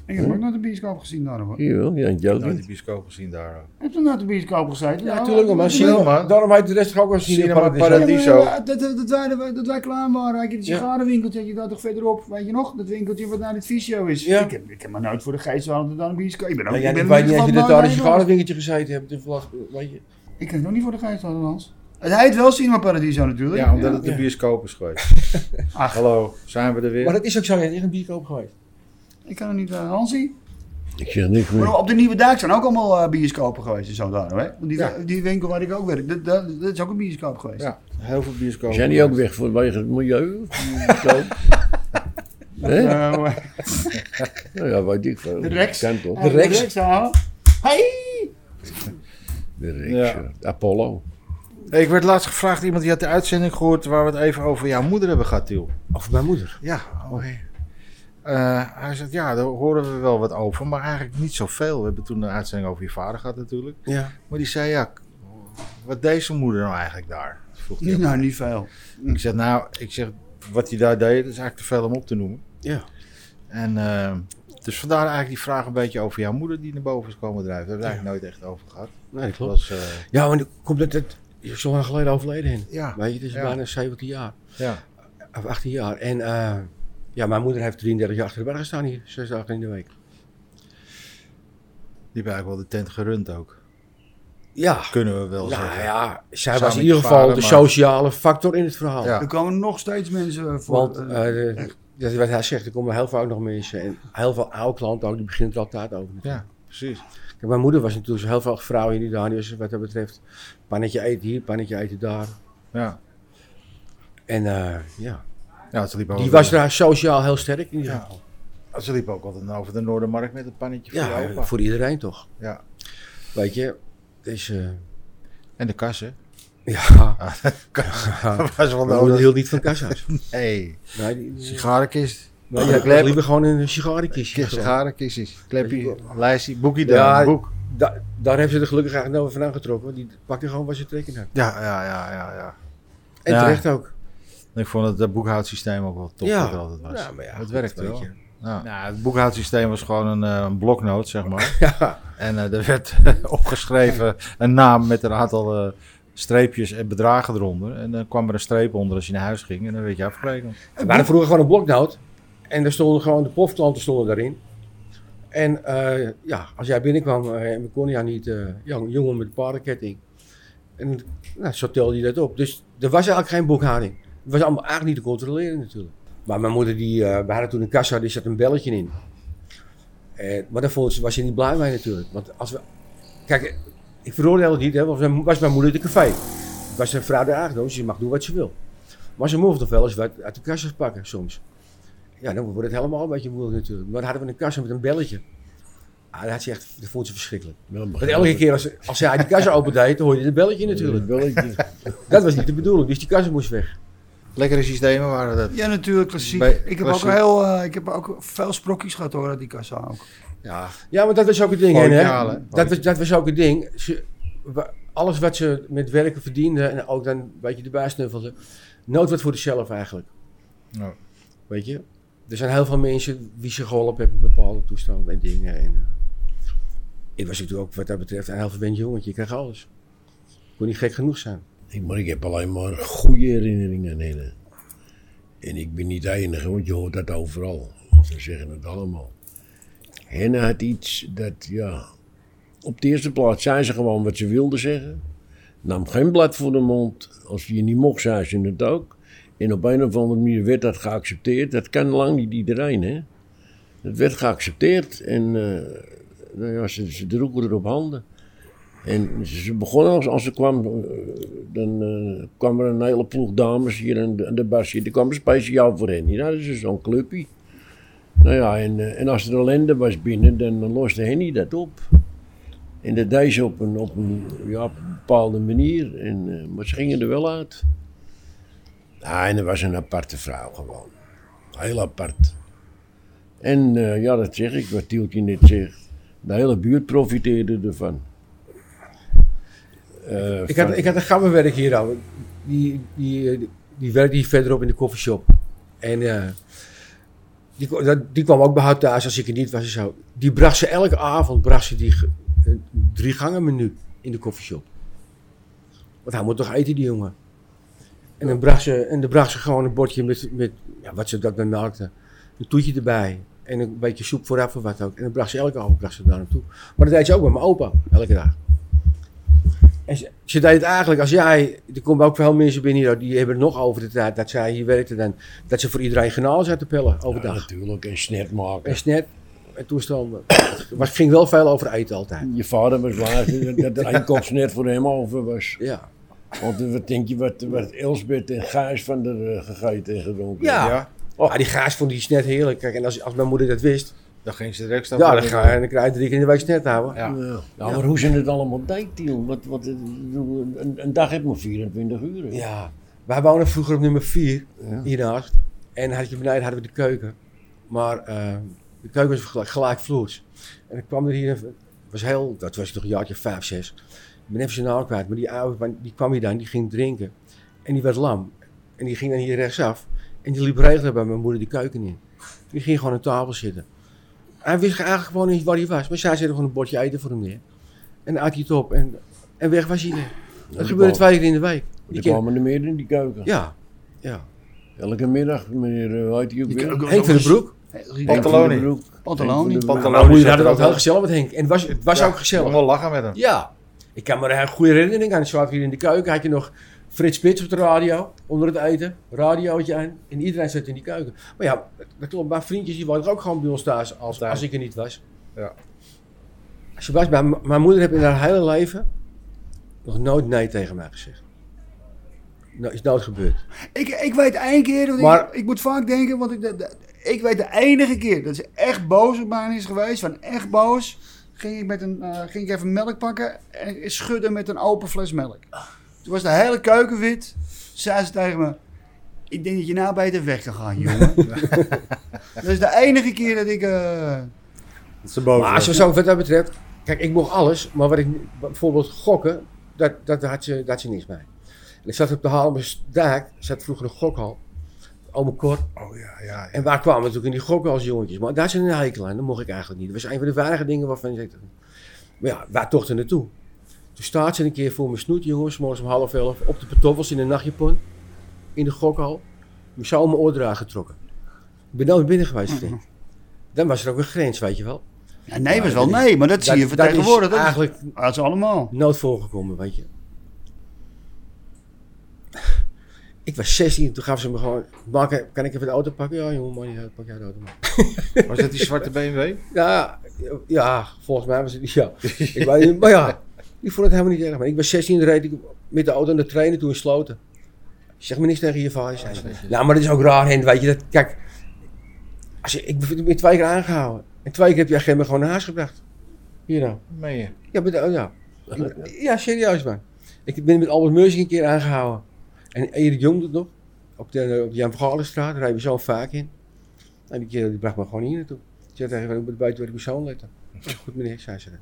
B: Ik heb ook nog de bioscoop gezien daar hoor.
D: Hier wel, Jan
C: Nou, die
D: Joking.
C: bioscoop gezien daar.
B: Heb je naar de bioscoop gezeten? Nou,
A: Ja, natuurlijk, maar
C: Cinema-
A: cinema. Daarom heet de rest ook wel
C: Cinema
A: Cinema
C: Paradiso.
A: Paradiso.
C: Paradiso.
B: dat, dat, dat wij, dat wij klaar waren, had je die
A: Ja.
B: sigarenwinkeltje, had je daar toch verderop, weet je nog? Dat winkeltje wat naar het visio is.
A: Ja.
B: Ik, heb, ik heb me nooit voor de geest gehouden dat daar een bioscoop... Ik ben ook,
A: Maar jij
B: ik ben
A: weet
B: in
A: niet
B: ieder
A: dat je dat
B: geval
A: daar in
B: nooit
A: een
B: bij geweest.
A: sigarendingetje gezeten hebt. De vlag, weet je.
B: Ik heb nog niet voor de geest gehouden, Hans. Het heet wel Cinema Paradiso
C: Ja,
B: natuurlijk.
C: ja omdat het
A: Ja.
C: de bioscoop is geweest.
B: Ach.
C: Hallo, zijn we er weer?
A: Maar dat is ook zo, je hebt echt een bierkoop geweest.
B: Ik kan er niet aan Hansie.
D: Ik zeg niks meer.
B: Maar op de Nieuwe Dijk zijn ook allemaal eh, bioscopen geweest en zo daar, hè? Want Die,
C: Ja.
B: die winkel waar ik ook werk, dat, dat, dat is ook een bioscoop geweest.
C: Ja, heel veel bioscopen.
D: Zijn die ook weg vanwege het milieu? Of zo? Hè?
B: Nou, eh,
D: Nou ja, weet ik veel.
B: De Rex.
D: Kan toch?
B: De Rex. ja. Hey!
D: De Rex,
C: Ja.
D: ja. Apollo.
C: Hey, ik werd laatst gevraagd, iemand die had de uitzending gehoord waar we het even over jouw moeder hebben gehad, Tiel.
A: Of mijn moeder.
C: Ja, oké.
B: Oh,
C: Eh, hij zegt, ja, daar horen we wel wat over, maar eigenlijk niet zoveel. We hebben toen een uitzending over je vader gehad natuurlijk.
A: Ja.
C: Maar die zei, ja, k- wat deze moeder nou eigenlijk daar? Vroeg hij.
B: Niet, nou, niet veel.
C: Ik zeg, nou, ik zeg, wat hij daar deed, dat is eigenlijk te veel om op te noemen.
A: Ja.
C: En eh, dus vandaar eigenlijk die vraag een beetje over jouw moeder die naar boven is komen drijven. Daar hebben we het eigenlijk nooit echt over gehad.
A: Nee, dat
C: Dat
A: klopt.
C: was, eh,
A: Ja, maar dan komt het, het, Die is zo lang geleden overleden. in.
C: Ja.
A: Weet je, het is
C: Ja.
A: bijna 17 jaar.
C: Ja.
A: Of 18 jaar. En eh, ja, mijn moeder heeft 33 jaar achter de bergen staan hier. Zes dagen in de week.
C: Die hebben eigenlijk wel de tent gerund ook.
A: Ja.
C: Kunnen we wel
A: Nou
C: zeggen.
A: ja, zij
C: Samen
A: was in
C: met
A: ieder
C: je
A: geval
C: vader,
A: de
C: maar-
A: sociale factor in het verhaal.
C: Ja.
B: Er komen nog steeds mensen voor.
A: Want
B: eh,
A: eh, dat is wat hij zegt, er komen heel vaak nog mensen. En heel veel oude klanten ook, die beginnen er altijd over.
C: Ja, precies.
A: Kijk, mijn moeder was natuurlijk heel veel vrouwen in die daar. Dus wat dat betreft, pannetje eten hier, pannetje eten daar.
C: Ja.
A: En eh, ja,
C: Ja, ze liepen
A: die
C: ook-
A: was daar sociaal heel sterk in ieder
C: Ja.
A: geval.
C: Ah, Ze liepen ook altijd over de Noordermarkt met een pannetje voor
A: Ja,
C: je opa.
A: voor iedereen toch.
C: Ja.
A: Weet je, dus eh,
C: En de kassen.
A: ja,
C: Dat was
A: mijn
C: wel
A: moeder
C: nodig.
A: hield niet van kassa's.
C: Hey,
A: Nee, die, die,
C: sigarenkist.
A: nee,
C: Ja,
A: ja,
C: klep.
A: liever gewoon een sigarenkistje. gewoon.
C: Sigarenkistjes. Klepje, lijstje, boekje
A: Ja,
C: daar, boek.
A: Da- daar hebben ze er gelukkig eigenlijk nou vandaan getrokken. want Die pakte gewoon wat ze trekken had.
C: Ja, ja, ja, ja, ja.
A: En
C: Ja.
A: terecht ook.
C: Ik vond het eh, boekhoudsysteem ook wel top
A: Ja.
C: dat het altijd was.
A: Nou, maar ja,
C: het
A: goed,
C: werkte
A: weet
C: wel.
A: je.
C: Ja. Nou, het boekhoudsysteem was gewoon een, eh, een bloknoot, zeg maar.
A: Ja,
C: en eh, er werd opgeschreven een naam met een aantal eh, streepjes en bedragen eronder. En dan kwam er een streep onder als je naar huis ging en dan werd je afgerekend.
A: we waren vroeger gewoon een bloknoot. En daar stonden gewoon de pofklanten stonden daarin. En eh, ja, als jij binnenkwam eh, en we konden jou niet, eh jong, jongen met paardenketting. En nou, zo telde je dat op. Dus er was eigenlijk geen boekhouding. Het was allemaal eigenlijk niet te controleren natuurlijk. Maar mijn moeder, die, eh we hadden toen een kassa, die zat een belletje in. En, maar daar vond ze, was ze niet blij mee natuurlijk. Want als we, kijk, ik veroordeel het niet, hè, want dan was mijn moeder de café. Het was een vrouw de aangenomen, ze mag doen wat ze wil. Maar ze mocht toch wel eens wat uit de kassas pakken soms. Ja, dan wordt het helemaal een beetje moeilijk natuurlijk. Maar dan hadden we een kassa met een belletje. Ah, dat, had ze echt, dat vond ze verschrikkelijk. Want elke keer als, als zij die kassa opendeed, dan hoorde je het belletje natuurlijk. Dat was niet de bedoeling, dus die kassa moest weg.
C: Lekkere systemen waren dat.
B: ja, natuurlijk, klassiek.
C: Bij-
B: ik, heb
C: klassiek.
B: Ook heel, eh, ik heb ook veel sprokjes gehad hoor, uit die kassa ook.
C: Ja,
A: Ja, maar dat was ook het ding,
C: Mooi
A: hè?
C: verhaal, hè?
A: Dat was, dat was ook het ding. Ze, wa- alles wat ze met werken verdiende en ook dan een beetje erbij snuffelde, nood wat voor zichzelf eigenlijk.
C: Ja.
A: Weet je? Er zijn heel veel mensen die ze geholpen hebben in bepaalde toestanden en dingen. En, eh, ik was natuurlijk ook wat dat betreft een heel verwend jongetje. Ik kreeg alles. Kon niet gek genoeg zijn.
D: Ik, maar ik heb alleen maar goede herinneringen aan hen. En ik ben niet de enige, want je hoort dat overal. Ze zeggen het allemaal. Henna had iets dat, ja. Op de eerste plaats zei ze gewoon wat ze wilde zeggen. Nam geen blad voor de mond. Als je niet mocht, zei ze het ook. En op een of andere manier werd dat geaccepteerd. Dat kan lang niet iedereen, hè? Het werd geaccepteerd en eh, nou ja, ze, ze droegen er op handen. En ze ze begon als, als ze kwam, eh, dan eh, kwam er een hele ploeg dames hier aan de, aan de bar zitten. kwam speciaal voor hen. Hier hadden ze zo'n clubje. Nou ja, en, eh, en als er ellende was binnen, dan loste Henny dat op. En dat deed ze op een, op een, ja, op een bepaalde manier. En, eh, maar ze gingen er wel uit. Ah, en dat was een aparte vrouw gewoon. Heel apart. En eh, ja, dat zeg ik, wat Tieltje net zegt. De hele buurt profiteerde ervan. Eh,
A: Ik had,
D: van-
A: ik had een gammerwerk hier al. Die, die, eh, die werkte hier verderop in de koffieshop. En eh, die, kwa- dat- die kwam ook bij haar thuis als ik er niet was en zo. Die bracht ze elke avond bracht ze die ge- een drie gangen menu in de koffieshop. Want hij moet toch eten, die jongen. En dan bracht ze, en dan bracht ze gewoon een bordje met, met ja, wat ze dat dan melkte. Een toetje erbij. En een beetje soep vooraf of wat ook. En dan bracht ze elke avond bracht ze daar naartoe. Maar dat deed ze ook bij mijn opa, elke dag. En ze, ze deed het eigenlijk als jij, er komen ook veel mensen binnen hier, die hebben het nog over de tijd dat zij hier werkte, dan, dat ze voor iedereen genal zat te pillen
D: Ja,
A: overdag.
D: natuurlijk, en snet maken.
A: En snet, en toestanden. Maar het ging wel veel over eten altijd.
D: Je vader was laatst dat- dat er één kop snet voor hem over was.
A: Ja,
D: Want eh, wat denk je wat, wat Elsbeth en Gijs van de gegeten en gedronken
A: ja.
D: hebben?
C: ja.
A: Oh, die gaas vond die snet heerlijk. Kijk, en als, als mijn moeder dat wist,
C: Dan ging ze direct staan.
A: ja, dan, ga, dan krijg je drie keer in de week snet houden.
C: Ja.
D: Ja. Ja, maar hoe ze het allemaal deed, Tiel. Wat, wat, eh, een, een dag heeft maar 24 uur.
A: Ja, wij woonden vroeger op nummer 4
D: Ja.
A: hiernaast. En had je beneden hadden we de keuken. Maar eh, de keuken was gelijk, gelijkvloers. En ik kwam er hier, een- was heel, dat was toch een jaartje 5, 6. Ik ben even zijn naam kwijt, maar die oude, man, die kwam hier dan, die ging drinken. En die werd lam. En die ging dan hier rechtsaf. En die liep regelen bij mijn moeder de keuken in. Die ging gewoon aan tafel zitten. Hij wist eigenlijk gewoon niet waar hij was, maar zij zette gewoon een bordje eten voor hem neer. En dan at hij het op en, en weg was hij weer. Dat gebeurde twee keer in de week.
D: Er
A: Die kind-
D: kwamen er meer in die keuken.
A: Ja, ja.
D: Elke middag, meneer, eh, hoe heet die ook weer? Henk
A: Henk van den Broek.
D: van den
C: Pantaloni.
D: Broek.
B: Pantaloni.
D: Henk van den Broek.
A: Nou, moeder had het altijd heel gezellig met Henk. En het was, het was ook gezellig.
C: Allemaal lachen met hem.
A: Ja, ik kan me een goede herinnering aan. Zat hier in de keuken, had je nog Frits Spits op de radio, onder het eten, radiootje aan. En iedereen zat in die keuken. Maar ja, dat klopt, maar vriendjes die waren ook gewoon bij ons thuis, als, als ik er niet was.
C: Ja.
A: Als je was, mijn, mijn moeder heeft in haar hele leven nog nooit nee tegen mij gezegd. Nou, is nooit gebeurd.
B: Ik, ik weet één keer, want ik-
A: Maar-
B: ik, moet vaak denken, want ik, dat- dat- ik weet de enige keer dat ze echt boos op mij is geweest, van echt boos, ging ik, met een, eh, ging ik even melk pakken en schudden met een open fles melk. Toen was de hele keuken wit, zei ze tegen me, ik denk dat je nou beter weg kan gaan, jongen. dat is de enige keer dat ik... eh,
F: Dat ze boos
A: Maar
F: werd.
A: zo, zo, wat dat betreft, kijk, ik mocht alles, maar wat ik bijvoorbeeld gokken, dat, dat had, ze, dat had ze niks mee. En ik zat op de Haarlemmerdaak, zat vroeger een gokhal, Ome Kort.
C: Oh ja, ja. ja.
A: En waar kwamen we natuurlijk in die gokken als jongetjes? Maar daar zijn een hekel aan, dat mocht ik eigenlijk niet. Dat was een van de weinige dingen waarvan ik... Maar ja, waar tochten naartoe? Toen staat ze een keer voor mijn snoet, jongens, morgens om half elf, op de pantoffels in de nachtjapon, in de gokhal. Mijn zou mijn oor eruit getrokken. Ik ben nooit binnen geweest, vriend. Dan was er ook een grens, weet je wel.
B: ja, nee was wel nee, maar dat, zie je
A: dat
B: vertegenwoordigd.
A: is
B: Dat,
A: eigenlijk
B: is- dat is allemaal.
A: nooit voorgekomen, weet je. Ik was 16, toen gaf ze me gewoon, "Mark, kan ik even de auto pakken? Ja jongen, man, ja, pak jij de auto maar.
C: Was dat die zwarte BMW?
A: Ja, ja, volgens mij was het. Ja. ik weet niet, maar ja, ik vond het helemaal niet erg. Maar ik was 16 en reed ik met de auto naar de trainen toe in sloten. Zeg me niks tegen je vader. zei ze. nou, maar dat is ook raar, Hen, weet je. Dat, kijk, als je, ik ben twee keer aangehouden. En twee keer heb je agent me gewoon naar huis gebracht. Hier nou.
C: Meen je?
A: Ja, met, oh, ja. Ik- ja, serieus man. Ik ben met Albert Meursing een keer aangehouden. En Erik Jong doet het nog. Op de, op de Jan Vergalenstraat, daar rijden we zo vaak in. En die kerel die bracht me gewoon hier naartoe. Ik zei tegen hem, ik moet buiten bij de persoon letten. Ik zeg, Goed meneer, zei ze. dan.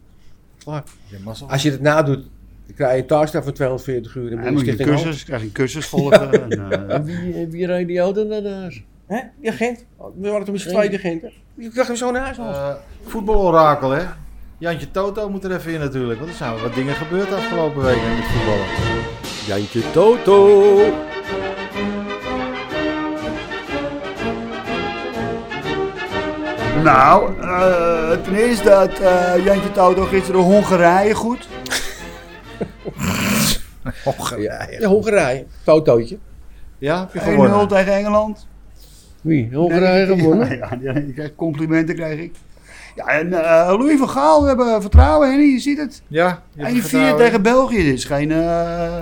A: Klaar.
C: Je mazzel.
A: Als je dat nadoet, dan krijg je een taakstraf van 240 uur.
B: En moet je
A: stichting Hoog.
B: cursus, krijg je een cursus volgen. en, eh,
D: Wie, eh, wie rijdt die auto naar huis?
A: Hè? Die agent. We waren toen met z'n tweeën die agent. Ik dacht hem zo naar huis. man.
C: Eh, voetbalorakel, hè? Jantje Toto moet er even in natuurlijk, want er zijn wel wat dingen gebeurd de afgelopen weken met voetballen.
F: Jantje Toto.
B: Nou, eh, ten eerste dat eh, Jantje Toto gisteren Hongarije goed.
A: Hongarije. Ja, Hongarije. Totootje.
C: Ja, heb je
B: 1-0
C: gewonnen?
B: tegen Engeland.
D: Wie? Hongarije gewonnen?
B: Ja, ja, die kreeg complimenten kreeg ik. Ja, en eh, Louis van Gaal, we hebben vertrouwen, Henny, je ziet het. 1-4
C: Ja, je hebt vertrouwen.
B: tegen België, dit is geen, eh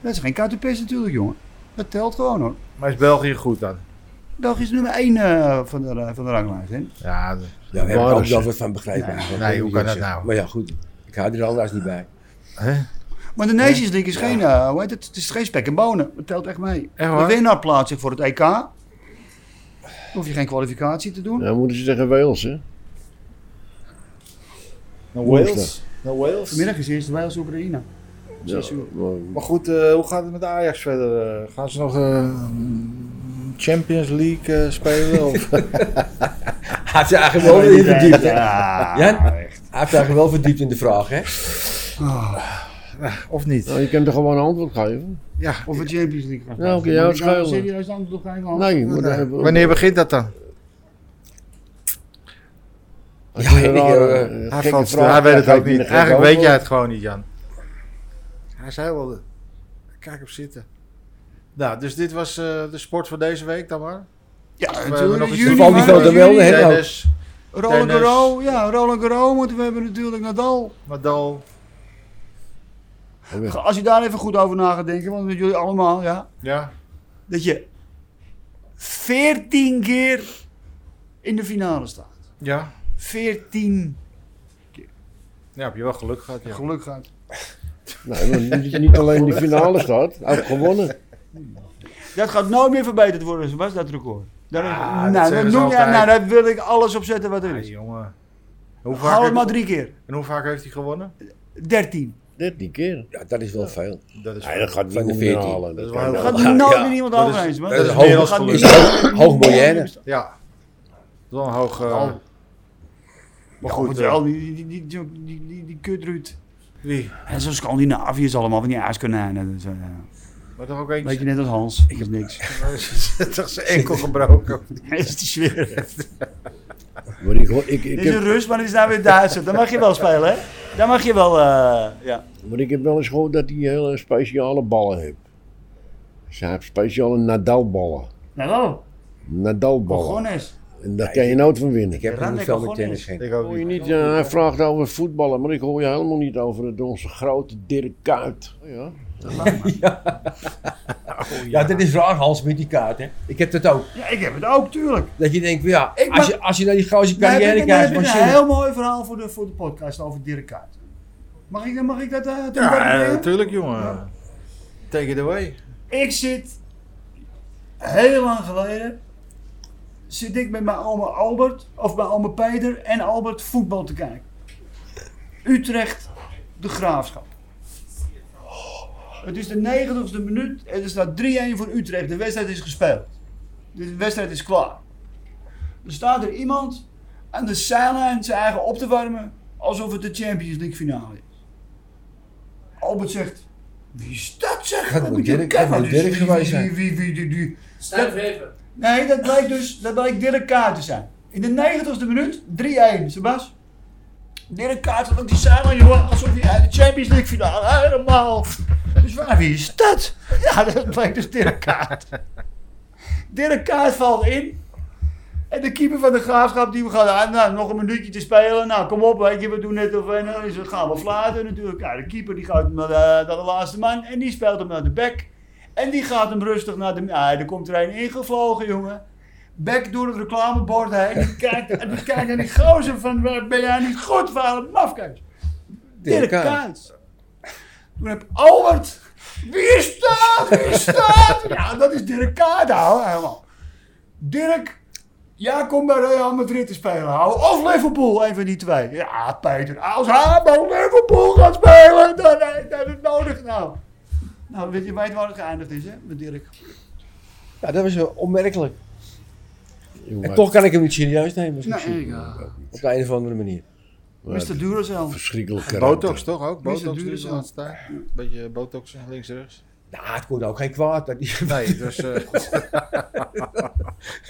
B: dat is geen KTP's natuurlijk, jongen. Dat telt gewoon, hoor.
C: Maar is België goed dan?
B: België is nummer 1 eh, van, de, van de ranglijst, hè.
C: Ja, de-
A: Ja, we hebben er
C: waren
A: ook
C: ze.
A: wel wat van begrepen.
B: Nee,
A: Dat
C: nee,
A: weet
C: hoe
A: ik
C: kan
A: niet
C: dat
A: zo.
C: nou?
A: Maar ja, goed. Ik hou er anders niet bij.
C: Hè?
B: Maar de Nations League is geen, eh, hoe heet het, het is geen spek en bonen. Dat telt echt mee.
C: Echt
B: de
C: waar?
B: winnaar plaatst zich voor het EK. Dan hoef je geen kwalificatie te doen.
D: Nou moeten ze tegen Wales, hè?
C: Naar
D: Hoe is
C: Wales. Naar Wales.
B: Vanmiddag is eerst Wales-Oekraïne.
D: Ja,
B: Zes uur.
D: maar-
C: Maar goed, eh, hoe gaat het met Ajax verder? Eh, gaan ze nog eh, Champions League eh, spelen? of? eh,
A: Had ze eigenlijk wel in verdiept, hè?
B: Ja.
A: Jan, hij heeft eigenlijk wel verdiept in de vraag, hè?
C: Ah. Of niet?
D: Nou, je kan toch gewoon een antwoord geven?
C: Ja.
B: Of een Champions League gaat.
D: Ja, oké, ja,
B: Moet ik nou
D: schuilen.
B: serieus dan toch geen hand?
D: Nee, maar dan
C: Nee.
D: hebben we-
C: Wanneer begint dat dan?
D: Als je
A: Ja,
D: een
A: ik,
D: rare,
A: eh,
D: eh,
C: Hij,
D: gekke
C: valt stil.
D: vraag
C: hij weet het
D: krijgt, dan
C: ook
D: heb je
C: niet.
D: een gek
C: Eigenlijk weet jij
D: antwoord.
C: het gewoon niet, Jan. Hij zei wel, de- kijk op zitten. Nou, dus dit was eh, de sport van deze week dan maar. eh,
B: Ja,
C: we hebben nog
B: natuurlijk.
C: iets
B: Juni,
C: van
B: maar
A: Van
B: dat is
A: Wilde,
B: juni.
A: hè? Hello.
C: Tennis,
B: Roland
C: Tennis.
B: Garros, ja, Roland Garros moeten we hebben natuurlijk Nadal.
C: Nadal.
B: Als je daar even goed over na gaat denken, want met jullie allemaal, ja.
C: Ja,
B: Dat je 14 keer in de finale staat.
C: ja.
B: 14
C: Ja, heb je wel geluk gehad. Ja.
B: geluk gaat.
D: Nee, maar niet- niet alleen die finale staat, ook gewonnen.
B: Dat gaat nooit meer verbeterd worden, was dat record. Daar
C: Ah, dat
B: nou, dat
C: zeggen ze
B: noem jij-
C: altijd.
B: nou, daar wil ik alles op zetten wat er
C: Hey,
B: is.
C: jongen. Hoe vaak,
B: Hou het maar
C: heeft,
B: drie keer.
C: en hoe vaak heeft hij gewonnen?
B: 13.
D: 13 keer.
A: Ja, dat is wel veel.
C: Dat is,
D: Nee, dat gaat
A: Van
D: niet
A: de
D: meer
A: 14.
C: Dat
D: halen. Dat
C: is
D: kan
C: wel-
D: wel.
B: Gaat
A: Ja,
B: nooit
A: ja.
B: meer iemand
C: Dat is-
B: over eens, man.
C: dat
A: Dat is
C: is
A: hoog-
C: meer dan
A: gaat-
C: geluk.
A: is hoog, hoog miljoenen.
C: Ja. Dat is wel een hoog... eh,
B: Oh.
C: Maar
B: Goed,
C: goed, eh,
B: wel, die, die, die, die, die, die, die kut Ruud.
C: Wie?
B: En zo'n Scandinaviërs allemaal, van die aaskonijnen. Dus, eh,
C: Maar toch ook eentje?
B: weet je, net als Hans. Ik heb niks.
C: toch zijn enkel gebroken.
B: Hij is te zweren.
D: Maar ik, hoor- ik, ik
B: Dit is een
D: heb,
B: Rus, maar dit is nou weer Duitsers. Dan mag je wel spelen, hè? Dan mag je wel, eh, ja.
D: maar ik heb wel eens gehoord dat hij hele speciale ballen heeft. Ze hebben speciale Nadalballen.
B: Nou, wel.
D: Nadalballen.
B: Begonnen.
D: En daar kan je nooit van winnen.
A: Ik heb er
B: Raad
A: niet
B: ik
A: veel
B: al
A: met
B: gewoon
A: tennis in.
C: Ik ook
D: Hoor
C: niet.
D: je niet, eh, hij vraagt over voetballen, maar ik hoor je helemaal niet over het, onze grote Dirk Kuyt. Ja.
A: Ja, dit is raar, Hans, met die kaart. Hè. Ik heb dat ook.
B: Ja, ik heb het ook, tuurlijk.
A: Dat je denkt, ja,
B: Ik
A: als,
B: mag-
A: je, als je naar die gozer
B: Dan heb ik,
A: carrière
B: dan heb
A: kijkt,
B: ik
A: van
B: een
A: shit.
B: heel mooi verhaal voor de, voor de podcast over Dirk Kuyt. Mag ik, mag ik dat eh ten
C: Ja,
B: bate brengen?
C: natuurlijk jongen. Take it away.
B: Ik zit heel lang geleden. Zit ik met mijn oma Albert, of mijn oma Peter en Albert voetbal te kijken. Utrecht, de graafschap. Het is de 90ste minuut en er staat 3-1 voor Utrecht. De wedstrijd is gespeeld. De wedstrijd is klaar. Er staat er iemand aan de zijlijn zijn eigen op te warmen alsof het de Champions League finale is. Albert zegt: Wie is dat zeg?
A: Dat
B: Wat
A: moet
B: moet je
A: Dirk-
B: kennen?
A: dat moet
B: Dus
A: Dirk
B: wie-
A: geweest zijn.
B: Wie, wie, wie, die- die- Nee, dat blijkt dus dat blijkt Dirk Kaart te zijn. In de 90ste minuut 3-1, Sebas. Dirk Kaart had ook die zijlijn, joh, alsof hij uit de Champions League finale helemaal. Dus waar, wie is dat? Ja, dat blijkt dus Dirk Kaart. Dirk Kaart valt in. En de keeper van de graafschap die we gaan ah, nou, nog een minuutje te spelen. Nou, kom op, weet je, we doen net of we nou, is het gaan we fluiten natuurlijk. Ja, de keeper die gaat naar de, naar de laatste man en die speelt hem naar de bek. En die gaat hem rustig naar de. Ah, er komt er een ingevlogen, jongen. Bek door het reclamebord heen. Die kijkt, en die kijkt naar die gozer van. "Waar Ben jij niet goed, vuile mafkees? Dirk
A: Kuyt.
B: Kuyt. Toen heb Albert. Wie is dat? Wie is dat? Ja, dat is Dirk Kuyt, ouwe, helemaal. Dirk, jij komt bij Real Madrid te spelen, ouwe. Of Liverpool, een van die twee. Ja, Peter, als hij bij Liverpool gaat spelen, dan eh, dan is het nodig nou. Nou, weet je, weet waar het geëindigd is, hè, met Dirk?
D: Nou,
A: Ja, dat was wel onmerkelijk. En
D: Maar
A: toch kan ik hem niet serieus nemen. als ik hem zie.
D: eh,
B: ja.
A: Op de een of andere manier.
B: Mr. Duracell.
D: Verschrikkelijk karakter.
C: Botox toch ook?
B: Wie is het
C: Botox
B: duur
C: is
B: zo?
C: aan het staan. Beetje botox links en rechts.
A: Nou, het kon ook geen kwaad. Dat die,
C: Nee, dus... eh,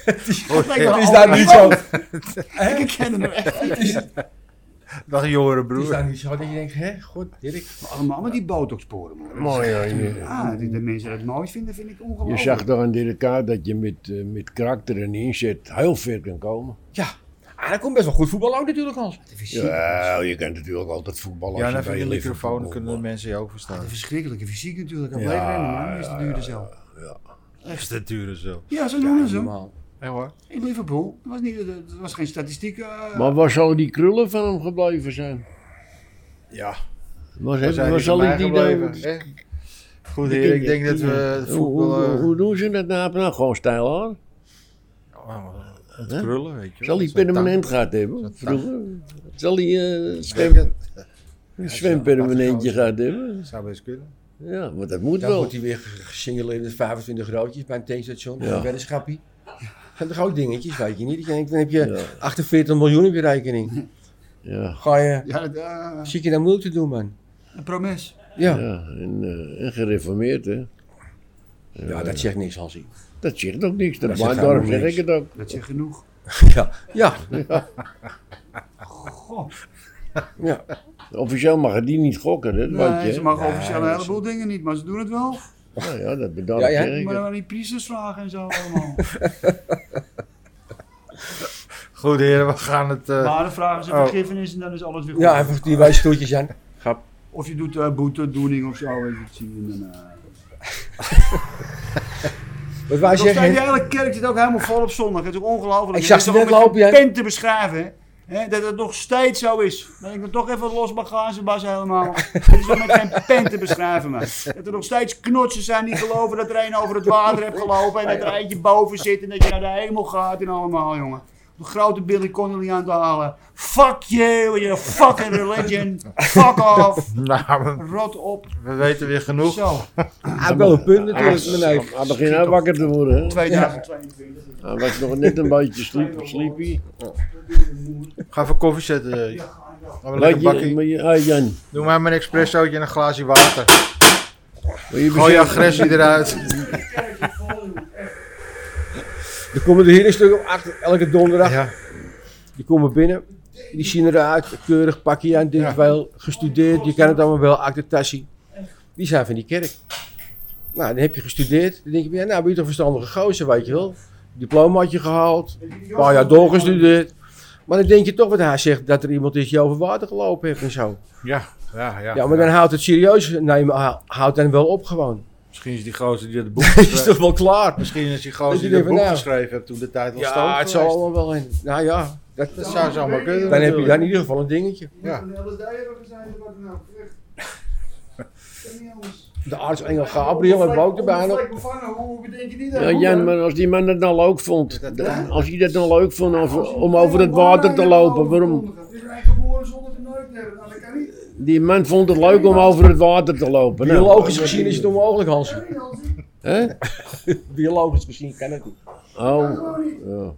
A: het
B: oh,
A: is daar niet zo.
B: Ik ken hem echt.
A: Het is, het
C: Dag eh, jongere
A: is
C: broer.
A: daar niet zo dat je denkt, hè, god, Dirk.
B: Allemaal met die botoxporen, man.
D: Mooi, ja, je,
B: Ah, dat de mensen het mooi vinden, vind ik
D: je
B: ongelooflijk.
D: zag toch aan Dirk Kuyt dat je met, eh, met karakter en inzet heel ver kan komen.
A: Ja, ah, dat komt best wel goed voetbal ook natuurlijk, Hans.
D: Ja, je kan natuurlijk altijd voetballen
C: Ja,
D: als
C: en
D: je
C: even
D: bij
C: je
D: je
C: microfoon kunnen de
D: Liverpool-
C: mensen je Ah, ook
B: De
C: verstaan.
B: verschrikkelijke fysiek natuurlijk. Dat
D: Ja,
B: bleef rennen, man. Mr.
D: ja,
B: Duracell.
C: Echt de dure zo.
B: Ja, zo noemen ze hem.
A: Normaal.
C: Echt hoor.
B: In Liverpool. Dat was, niet, dat was geen statistiek. eh,
D: Maar waar zal die krullen van hem gebleven zijn?
C: Ja.
D: Waar,
C: Waar
D: hebben-
C: zijn
D: waar
C: die
D: zal
C: van
D: ik
C: mij
D: die
C: gebleven?
D: dan...
C: Echt? Goed heer, ik denk dat we
D: Hoe, hoe,
C: voetbal... eh,
D: hoe doen ze dat nou? Nou, gewoon stijl aan.
C: oh, het Krullen, weet je wel.
D: Zal hij
C: Dat zijn
D: permanent
C: tanden.
D: gehad hebben?
C: Zo'n
D: Vroeger? Zal hij eh, een
C: Ik
D: zwem,
C: denk dat-
D: een zwempermanentje gehad hebben?
C: Zou best kunnen.
D: Ja, want dat moet
A: Dan
D: wel.
A: wordt hij weer gesingeld met 25 roodjes bij een tankstation, bij
D: Ja.
A: een weddenschapje. Dat zijn toch ook dingetjes, weet je niet. Dat je denkt, dan heb je
D: Ja.
A: 48 miljoen op je rekening.
D: Ja,
A: Ga je,
B: Ja, dat, eh,
A: zit je dan moeilijk te doen, man.
B: een promes.
A: Ja, ja.
D: ja en, eh, en gereformeerd hè.
A: dat zegt niks, Hansie.
D: Dat zegt ook niks. Dat
A: Dat zegt
D: Daarom
A: helemaal
D: zeg
A: niks.
D: ik het ook.
B: Dat is genoeg.
A: Ja, ja.
B: Goh.
A: ja.
D: Officieel mag het die niet gokken, hè, dat weet
B: Nee,
D: je.
B: ze
D: hè.
B: mogen officieel een heleboel dingen niet, maar ze doen het wel.
D: Nou ja, dat bedankt.
A: Ja, ja.
D: zeg ik
B: Maar
D: het.
B: dan die priesters vragen en zo allemaal.
C: Goed heren, we gaan het... eh,
B: Maar dan vragen ze
C: Oh.
B: vergiffenis en dan is alles weer goed.
A: ja even die wijze stoeltjes aan. Grap.
B: Of je doet eh boetedoening of zo. Weet je, het zien en, dan, eh.
A: Wat wij
B: Nog steeds, die
A: zeggen,
B: hele kerk zit ook helemaal vol op zondag. Het is ook ongelooflijk.
A: Ik zag
B: Het is
A: ze
B: ook
A: net
B: met
A: lopen, hè.
B: pen te beschrijven. hè. Hè, dat het nog steeds zo is. Dat ik het toch even los mag gaan, ze Bas helemaal. Het is ook met geen pen te beschrijven, man. Dat er nog steeds knotsen zijn die geloven dat er een over het water heeft gelopen. En dat er eentje boven zit en dat je naar de hemel gaat en allemaal, jongen. Om De grote Billy Connolly aan te halen. Fuck you, you fucking religion. Fuck off.
C: Nou, we,
B: Rot op.
C: we weten weer genoeg.
B: Zo,
A: hij heeft wel een punt natuurlijk,
D: Ah,
A: meneer.
D: Hij begint nou wakker te worden. hè.
B: 2022.
D: Hij was nog net een beetje sleep- sleepy.
C: Ga even koffie zetten. eh.
B: Ja, ja.
C: Laten we lekker
D: Laat
C: een bakkie.
D: je, maar je, ah, Jan,
C: Doe maar mijn expressootje en een glaasje water.
D: wil
C: Gooi je
D: je bezinken?
C: agressie eruit.
A: Er komen er hier een stuk op achter, elke donderdag.
C: Ja.
A: Die komen binnen, die zien eruit, keurig pakje aan, dit
C: Ja.
A: wel, gestudeerd, je kan het allemaal wel, actetassie. Die zijn van die kerk. Nou, dan heb je gestudeerd, dan denk je, ja, nou ben je toch verstandige gozer, weet je wel. Diplomaatje gehaald, een paar jaar doorgestudeerd. Maar dan denk je toch wat hij zegt, dat er iemand is die over water gelopen heeft en zo.
C: Ja, ja, ja.
A: Ja, maar dan houdt het serieus nemen, houdt dan wel op gewoon.
C: Misschien is die gozer die het boek
A: Is toch wel klaar?
C: Misschien is die
A: Dat
C: gozer die
A: die
C: het
A: denkt
C: boek
A: van, nou.
C: geschreven heeft toen de tijd al
A: Ja, het zal allemaal wel in. Nou ja, dat,
C: Dat zou zomaar kunnen
A: dan heb je
C: natuurlijk.
A: daar in ieder geval een dingetje.
C: Ja.
B: nou
A: De artsengel Gabriel hebben we ook erbij nog.
D: Ja, Jan, maar als die man dat nou leuk vond,
C: Dat
D: dan-
C: kan.
D: als hij dat nou leuk vond of- om over het water te lopen, waarom?
B: Nou,
D: Die man vond het leuk om over het water te lopen. nou.
A: Biologisch gezien is het onmogelijk, Hans.
D: Hè?
A: Biologisch gezien kan het niet.
D: Oh, ja.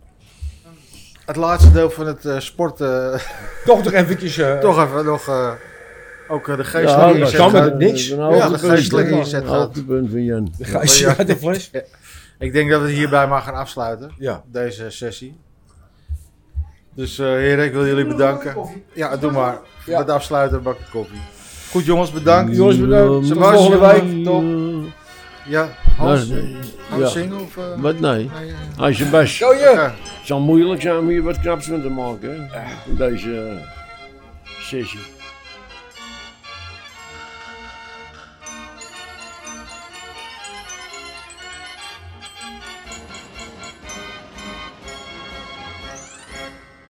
C: Het laatste deel van het eh, sport, eh,
A: Toch nog eventjes. eh,
C: toch even nog eh, ook eh, de
D: Ja,
C: geestelijke
D: dat
C: inzet.
A: kan
C: gaat.
A: met niks.
D: Een
A: Ja,
D: hoogtepunt.
C: de geestelijke inzet
D: Een
C: gaat.
D: hoogtepunt van Jan.
A: de geisje
C: Ja.
A: uit de fles.
C: Ik denk dat we het hierbij maar gaan afsluiten,
A: Ja.
C: deze sessie. Dus eh heren, ik wil jullie bedanken. Ja, doe maar.
A: Ja. Mm.
C: Met afsluiten een bakje koffie. Goed jongens, bedankt.
A: Jongens, bedankt. Tot
C: Sebastian,
A: volgende week.
C: Top. Ja, Hans,
D: Nou,
C: Hans
D: ja.
C: zingen of... eh,
D: Wat nee?
C: nee, eh,
D: Als je best.
A: Zo je.
C: ja.
D: Het zal moeilijk zijn om hier wat knaps van te maken. Hè? Van deze eh, sessie.